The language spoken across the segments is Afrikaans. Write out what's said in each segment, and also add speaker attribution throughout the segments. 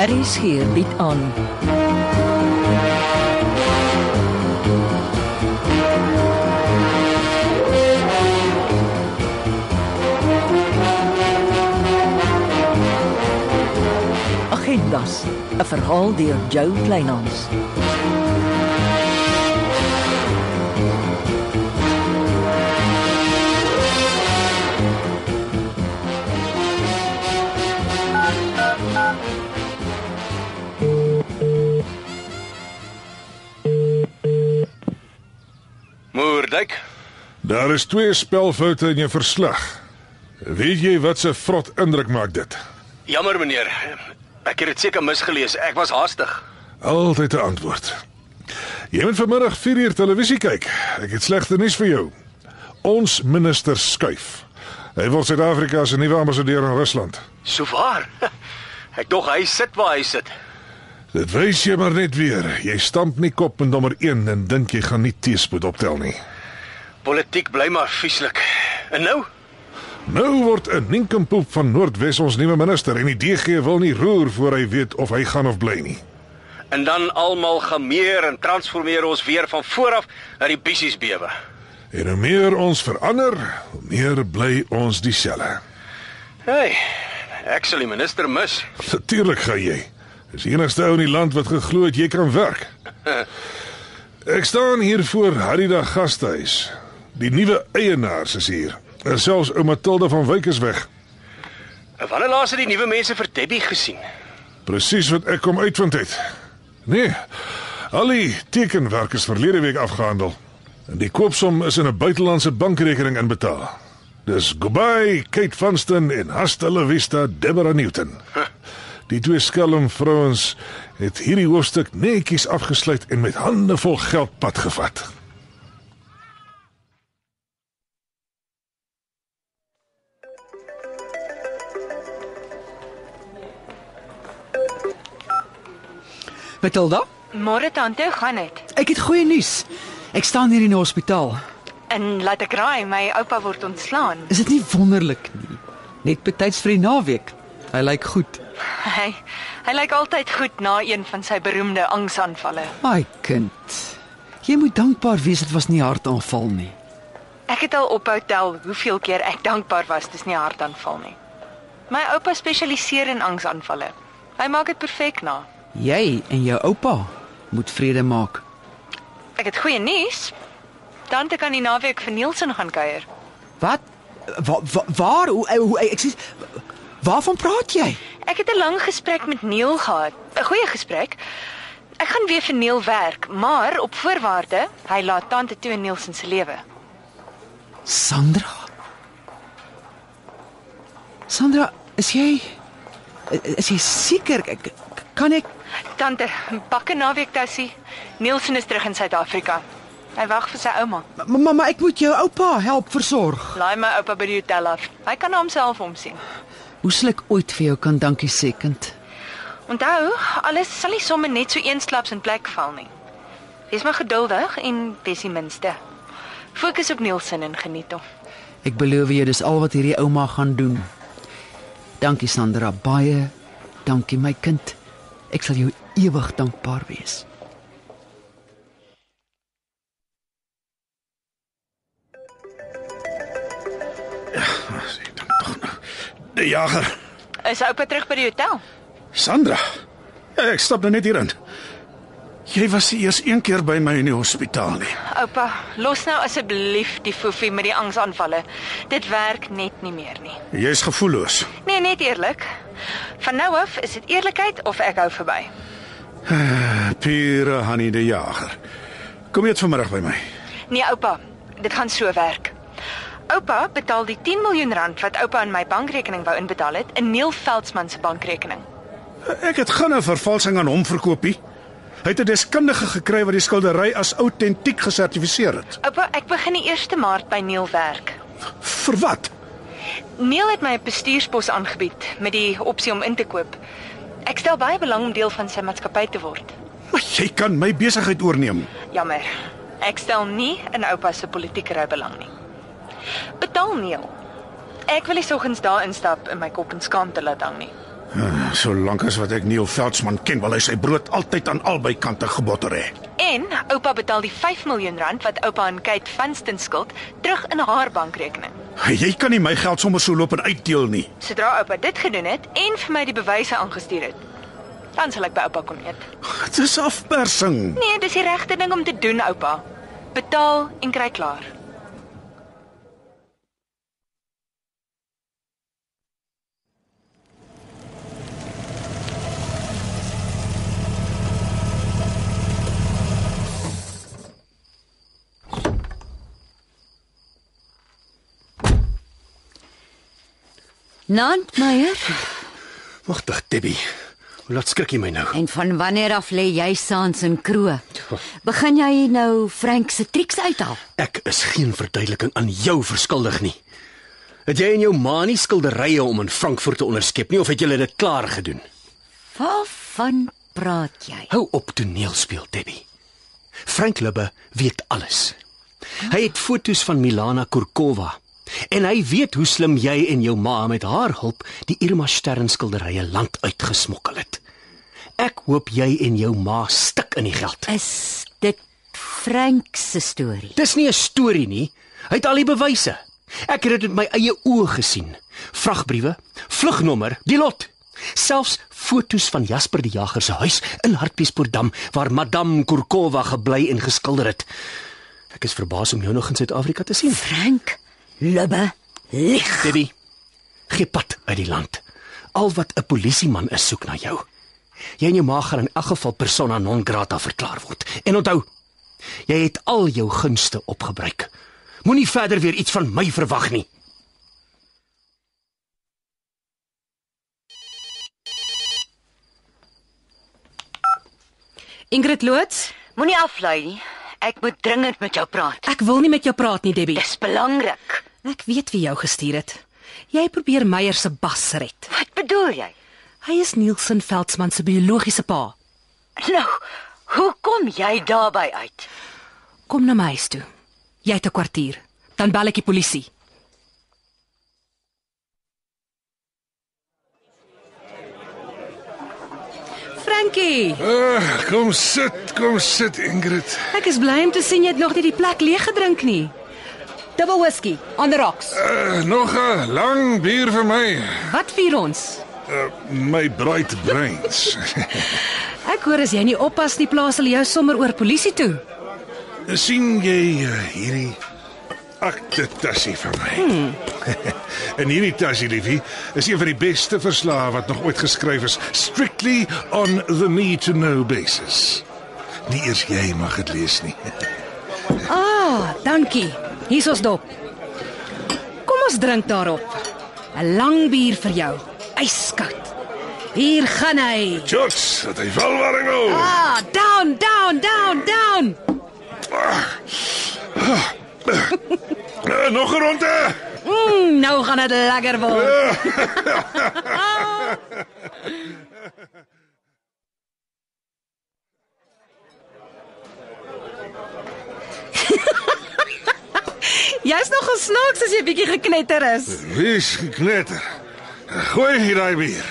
Speaker 1: RSG bied aan. Agendas, 'n verhaal deur Jo Kleinhans.
Speaker 2: Moerdijk,
Speaker 3: Daar is twee spelfoute in jou verslag. Weet jy wat se vrot indruk maak dit?
Speaker 2: jammer meneer. Ek het dit seker misgelees. Ek was haastig.
Speaker 3: Altyd 'n antwoord. Jy moet vanmiddag 4uur televisie kyk. Ek het slegte nuus vir jou. Ons minister skuif. Hy word Suid-Afrika se nuwe ambassadeur in Rusland.
Speaker 2: So waar. Ek dog hy sit waar hy sit.
Speaker 3: Dit wys jy maar net weer, jy stamp nie kop in nommer 1 en dink jy gaan nie teespoed optel nie.
Speaker 2: Politiek bly maar vieslik. En nou?
Speaker 3: Nou word 'n ninkompoep van Noordwes ons nuwe minister en die DG wil nie roer voor hy weet of hy gaan of bly nie.
Speaker 2: En dan almal gemeer en transformeer ons weer van vooraf na die bissies bewe.
Speaker 3: En hoe meer ons verander, hoe meer bly ons dieselfde.
Speaker 2: Hey, ek sal die minister mis.
Speaker 3: Natuurlik gaan jy. Dis die enigste ou in die land wat geglo het jy kan werk. Ek staan hier voor Harida Gasthuis. Die nuwe eienaars is hier. En selfs ou Matilda van Wyk is weg.
Speaker 2: En wanneer laas het die nuwe mense vir Debbie gesien?
Speaker 3: Presies wat ek kom uitvind het. Nee. Al die tekenwerk is verlede week afgehandel. En die koopsom is in 'n buitelandse bankrekening inbetaal. Dis goodbye Kate Vanston en hasta la vista Deborah Newton. Die twee skelm vrouens het hierdie hoofstuk netjies afgesluit en met hande vol geld pad gevat.
Speaker 4: Matilda,
Speaker 5: Môre tante, gaan dit.
Speaker 4: ek het goeie nuus. Ek staan hier in die hospitaal.
Speaker 5: En laat ek raai, my oupa word ontslaan.
Speaker 4: Is dit nie wonderlik nie? Net betyds vir die naweek. Hy lyk goed.
Speaker 5: Hy hy lyk altyd goed na een van sy beroemde angsaanvalle.
Speaker 4: My kind. Jy moet dankbaar wees dit was nie 'n hartaanval nie.
Speaker 5: Ek het al ophou tel hoeveel keer ek dankbaar was dis nie 'n hartaanval nie. My oupa spesialiseer in angsaanvalle. Hy maak dit perfek na.
Speaker 4: Jy en jou oupa moet vrede maak.
Speaker 5: Ek het goeie nuus. Tante kan die naweek vir Nielsen gaan kuier.
Speaker 4: Wat? Wa, wa, waar hoe, eh, hoe ek sê Waarvan praat jy?
Speaker 5: Ek het 'n lang gesprek met Neil gehad. 'n Goeie gesprek. Ek gaan weer vir Neil werk, maar op voorwaarde hy laat tante toe in Nielsen se lewe.
Speaker 4: Sandra? Sandra, is jy eh, is jy seker Ek- kan ek
Speaker 5: Tante, pak 'n naweek tassie. Nielsen is terug in Suid-Afrika. Hy wag vir sy ouma.
Speaker 4: Mamma, maar ek moet jou oupa help versorg.
Speaker 5: Laai my oupa by die hotel af. Hy kan na homself omsien.
Speaker 4: Hoe sal ek ooit vir jou kan dankie sê, kind?
Speaker 5: Onthou, alles sal nie sommer net so eensklaps in plek val nie. Wees maar geduldig en wees die minste. Fokus op Nielsen en geniet hom.
Speaker 4: Ek beloof jou dis al wat hierdie ouma gaan doen. Dankie Sandra, baie dankie my kind. Ek sal jou ewig dankbaar wees.
Speaker 6: Ek dink tog nou. Die jager,
Speaker 5: Is oupa terug by die hotel?
Speaker 6: Sandra. Ek stap nou net hier in. Jy was die eers een keer by my in die hospitaal nie.
Speaker 5: Oupa, los nou asseblief die foefie met die angsaanvalle. Dit werk net nie meer nie.
Speaker 6: Jy's gevoelloos.
Speaker 5: Nee, net eerlik. Van nou af is dit eerlikheid of ek hou verby.
Speaker 6: Pure Hannie die jager. Kom eet vanmiddag by my.
Speaker 5: Nee, oupa, dit gaan so werk. Oupa betaal die 10 miljoen rand wat oupa in my bankrekening wou inbetaal het in Neil Veldsmann se bankrekening.
Speaker 6: Ek het geen 'n vervalsing aan hom verkoopie. Hy het 'n deskundige gekry wat die skildery as outentiek gesertifiseer het.
Speaker 5: Oupa, ek begin die 1 Maart by Neil werk.
Speaker 6: Vir wat?
Speaker 5: Neil het my 'n bestuurspos aangebied met die opsie om in te koop. Ek stel baie belang om deel van sy maatskappy te word.
Speaker 6: Maar jy kan my besigheid oorneem.
Speaker 5: Jammer. Ek stel nie in oupa se politieke rou belang nie. Betaal Neil. Ek wil nie soggens daar instap en my kop in skaamte laat hang nie.
Speaker 6: Ah, Solank as wat ek Neil Veldsmann ken, wil hy sy brood altyd aan albei kante gebotter hê.
Speaker 5: En oupa betaal die 5 miljoen rand wat oupa aan Kate Vanston skuld terug in haar bankrekening.
Speaker 6: Jy kan nie my geld sommer so loop en uitdeel nie.
Speaker 5: Sodra oupa dit gedoen het en vir my die bewyse aangestuur het, dan sal ek by oupa kom eet.
Speaker 6: Dit is afpersing.
Speaker 5: Nee, dis die regte ding om te doen, oupa. Betaal en kry klaar.
Speaker 7: Nant Meyer,
Speaker 8: Wagtig, Debbie. Hoe laat skrik jy my nou?
Speaker 7: en van wanneer af lê jy saans in kroe? Begin jy nou Frank se triks uithaal?
Speaker 8: Ek is geen verduideliking aan jou verskuldig nie. Het jy en jou ma nie skilderye om in Frankfurt te onderskep nie of het julle dit klaar gedoen?
Speaker 7: Waarvan praat jy?
Speaker 8: Hou op toneel speel, Debbie. Frank Lubbe weet alles. Hy het fotos van Milana Kurkova en hy weet hoe slim jy en jou ma met haar hulp die Irma Stern skilderye land uitgesmokkel het. Ek hoop jy en jou ma stik in die geld.
Speaker 7: Is dit Frank se storie?
Speaker 8: Dis nie 'n storie nie. Hy het al die bewyse. Ek het dit met my eie oë gesien. Vragbriewe, vlugnommer, die lot. Selfs fotos van Jasper die Jager se huis in Hartbeespoortdam waar Madame Kurkova gebly en geskilder het. Ek is verbaas om jou nog in Suid-Afrika te sien.
Speaker 7: Frank Lubbe lieg.
Speaker 8: Debbie, gee pad uit die land. Al wat 'n polisieman is, soek na jou. Jy en jou ma gaan in elk geval persona non grata verklaar word. En onthou, jy het al jou gunste opgebruik. Moenie verder weer iets van my verwag nie.
Speaker 9: Ingrid loods,
Speaker 10: Moenie aflei nie. Ek moet dringend met jou praat.
Speaker 9: ek wil nie met jou praat nie, Debbie.
Speaker 10: Dis belangrik.
Speaker 9: Ek weet wie jou gestuur het. Jy probeer Meyer se bas red.
Speaker 10: Wat bedoel jy?
Speaker 9: Hy is Nielsen Veldsmann se biologiese pa.
Speaker 10: Nou, hoe kom jy daarby uit?
Speaker 9: Kom na my huis toe. Jy het 'n kwartier. Dan bel ek die polisie. Frankie,
Speaker 3: Ah, kom sit, kom sit Ingrid.
Speaker 9: ek is bly om te sien jy het nog nie die plek leeg gedrink nie. Double whisky on the rocks.
Speaker 3: Uh, nog 'n lang bier vir my.
Speaker 9: Wat vier ons?
Speaker 3: Uh, my bright brains.
Speaker 9: Ek hoor as jy nie oppas nie, plaas hulle jou sommer oor polisie toe.
Speaker 3: sien jy uh, hierdie akte tassie van my? en hierdie tassie, liefie, is een van die beste verslae wat nog ooit geskryf is, strictly on the need to know basis. Nie eers jy mag dit lees nie.
Speaker 9: Ah, dankie. Hier's ons dop. Kom ons drink daarop. 'n Lang bier vir jou, yskoud. Hier gaan hy.
Speaker 3: Jots, dat hy val waar hy wil.
Speaker 9: Ah, down, down, down, down.
Speaker 3: Uh, nog 'n ronde.
Speaker 9: Mm, nou gaan dit lekker word. Jy's nog gesnaaks as jy bietjie geknetter is.
Speaker 3: Wie's geknetter. Gooi hier daai bier.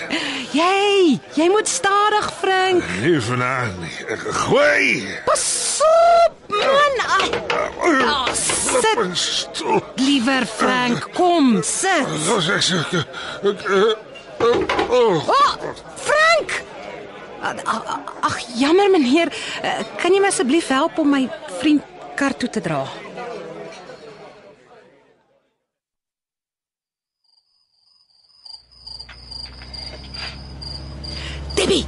Speaker 9: Jy, jy moet stadig, Frank.
Speaker 3: Nee, vanaand nie. Gooi.
Speaker 9: Pas op, man. Ag,
Speaker 3: Oh,
Speaker 9: sit.
Speaker 3: Stop.
Speaker 9: liewer Frank, kom, sit.
Speaker 3: Los ek sê ek ek eh, eh, oh,
Speaker 9: Oh, Frank! Ag, jammer meneer, Eh, kan jy my asseblief help om my vriend kar toe te dra?
Speaker 7: Debbie.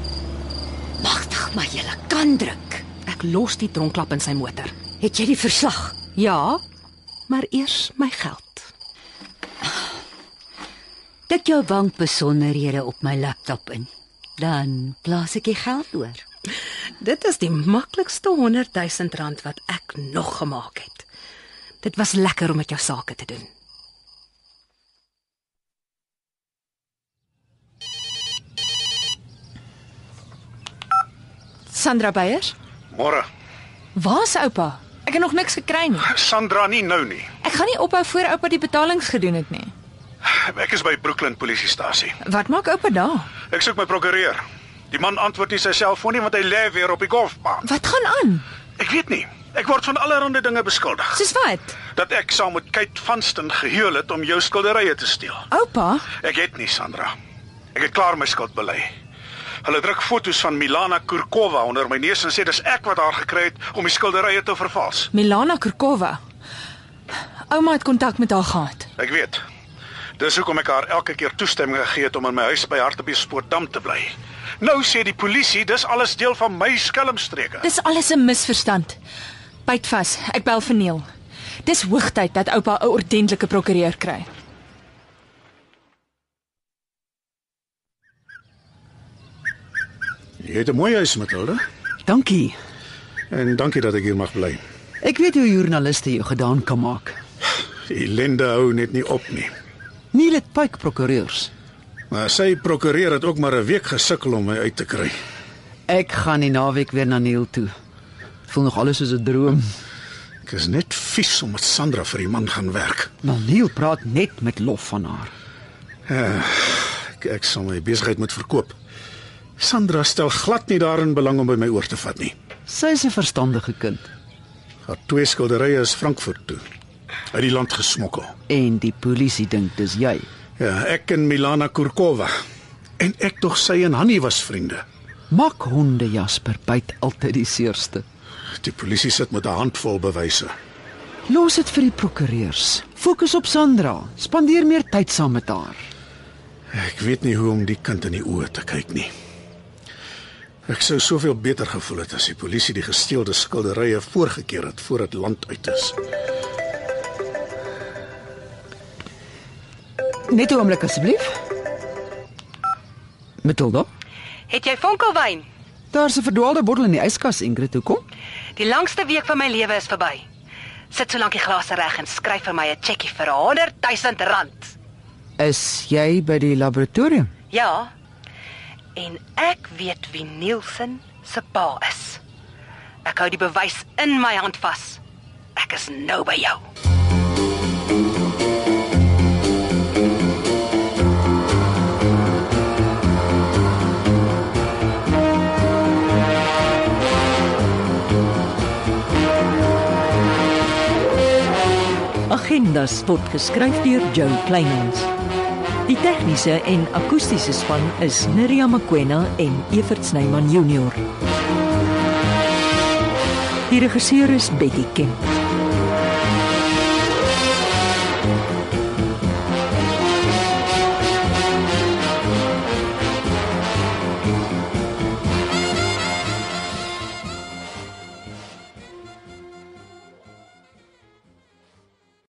Speaker 7: Magtig maar jy kan druk.
Speaker 9: Ek los die dronklap in sy motor.
Speaker 7: Het jy die verslag?
Speaker 9: Ja, maar eers my geld.
Speaker 7: Tik jou bankbesonderhede op my laptop in. Dan plaas ek die geld oor.
Speaker 9: Dit is die maklikste 100 000 rand wat ek nog gemaak het. Dit was lekker om met jou sake te doen.
Speaker 5: Sandra Beyers,
Speaker 2: Môre.
Speaker 5: waar's oupa? Ek het nog niks gekry nie.
Speaker 2: Sandra nie nou nie.
Speaker 5: Ek gaan nie ophou voor oupa die betalings gedoen het nie.
Speaker 2: Ek is by Brooklyn polisiestasie.
Speaker 5: Wat maak oupa daar?
Speaker 6: Ek soek my prokureur. Die man antwoord nie sy selfoon nie want hy lê weer op die golfbaan.
Speaker 11: Wat gaan aan?
Speaker 6: Ek weet nie. Ek word van allerlei dinge beskuldig.
Speaker 11: Soos wat?
Speaker 6: Dat ek saam met Kate Vanston gehuil het om jou skilderye te steel.
Speaker 11: Oupa,
Speaker 6: Ek het nie, Sandra. Ek het klaar my skuld bely. Hulle druk foto's van Milana Kurkova onder my neus en sê dis ek wat haar gekry het om die skilderye te vervals.
Speaker 11: Milana Kurkova. Ouma het kontak met haar gehad.
Speaker 6: Ek weet. Dis hoekom ek haar elke keer toestemming gegee het om in my huis by Hartbeespoortdam te bly. Nou sê die polisie dis alles deel van my skelmstreke.
Speaker 11: Dis alles 'n misverstand. Byt vas, ek bel vir Neil. Dis hoogtyd dat oupa 'n ordentlike prokureur kry.
Speaker 6: Jy het 'n mooi huis, Matilda.
Speaker 4: Dankie.
Speaker 6: En dankie dat ek hier mag bly.
Speaker 4: Ek weet hoe joernaliste jou gedaan kan maak.
Speaker 6: Die ellende hou net nie op nie.
Speaker 4: Nie dit pyk prokureurs.
Speaker 6: Maar sy prokureur het ook maar 'n week gesukkel om my uit te kry.
Speaker 4: Ek gaan die naweek weer na Neil toe. Voel nog alles soos 'n droom.
Speaker 6: Ek is net vies om met Sandra vir die man gaan werk.
Speaker 4: Maar Neil praat net met lof van haar.
Speaker 6: Ja, ek, ek sal my besigheid moet verkoop. Sandra stel glad nie daarin belang om by my oor te vat nie.
Speaker 4: Sy's 'n verstandige kind
Speaker 6: Haar twee skilderye is Frankfurt toe uit die land gesmokkel.
Speaker 4: en die polisie dink dis jy.
Speaker 6: Ja, ek en Milana Kurkova. En ek tog sy en Hanni was vriende.
Speaker 4: Maak honde Jasper byt altyd die seerste.
Speaker 6: Die polisie sit met 'n handvol bewyse.
Speaker 4: Los dit vir die prokureurs. Fokus op Sandra. Spandeer meer tyd saam met haar.
Speaker 6: Ek weet nie hoe om die kind in die oë te kyk nie. Ek sou soveel beter gevoel het as die polisie die gesteelde skilderye voorgekeer het voor dit land uit is.
Speaker 4: Net 'n oomblik asseblief. Matilda,
Speaker 5: Het jy vonkelwyn?
Speaker 4: daar's 'n verdwaalde bottel in die yskas, Ingrid, hoekom?
Speaker 5: Die langste week van my lewe is verby. Sit so lank die glase reg en skryf vir my 'n cheque vir 100 000 rand.
Speaker 4: Is jy by die laboratorium?
Speaker 5: Ja. En ek weet wie Nielsen se pa is. Ek hou die bewys in my hand vas. Ek is nou by jou.
Speaker 1: Agendas word geskryf deur Jo Kleinhans. Die tegniese en akoestiese span is Neriya Mkwena en Evert Snyman Junior. Die regisseur is Betty Kemp.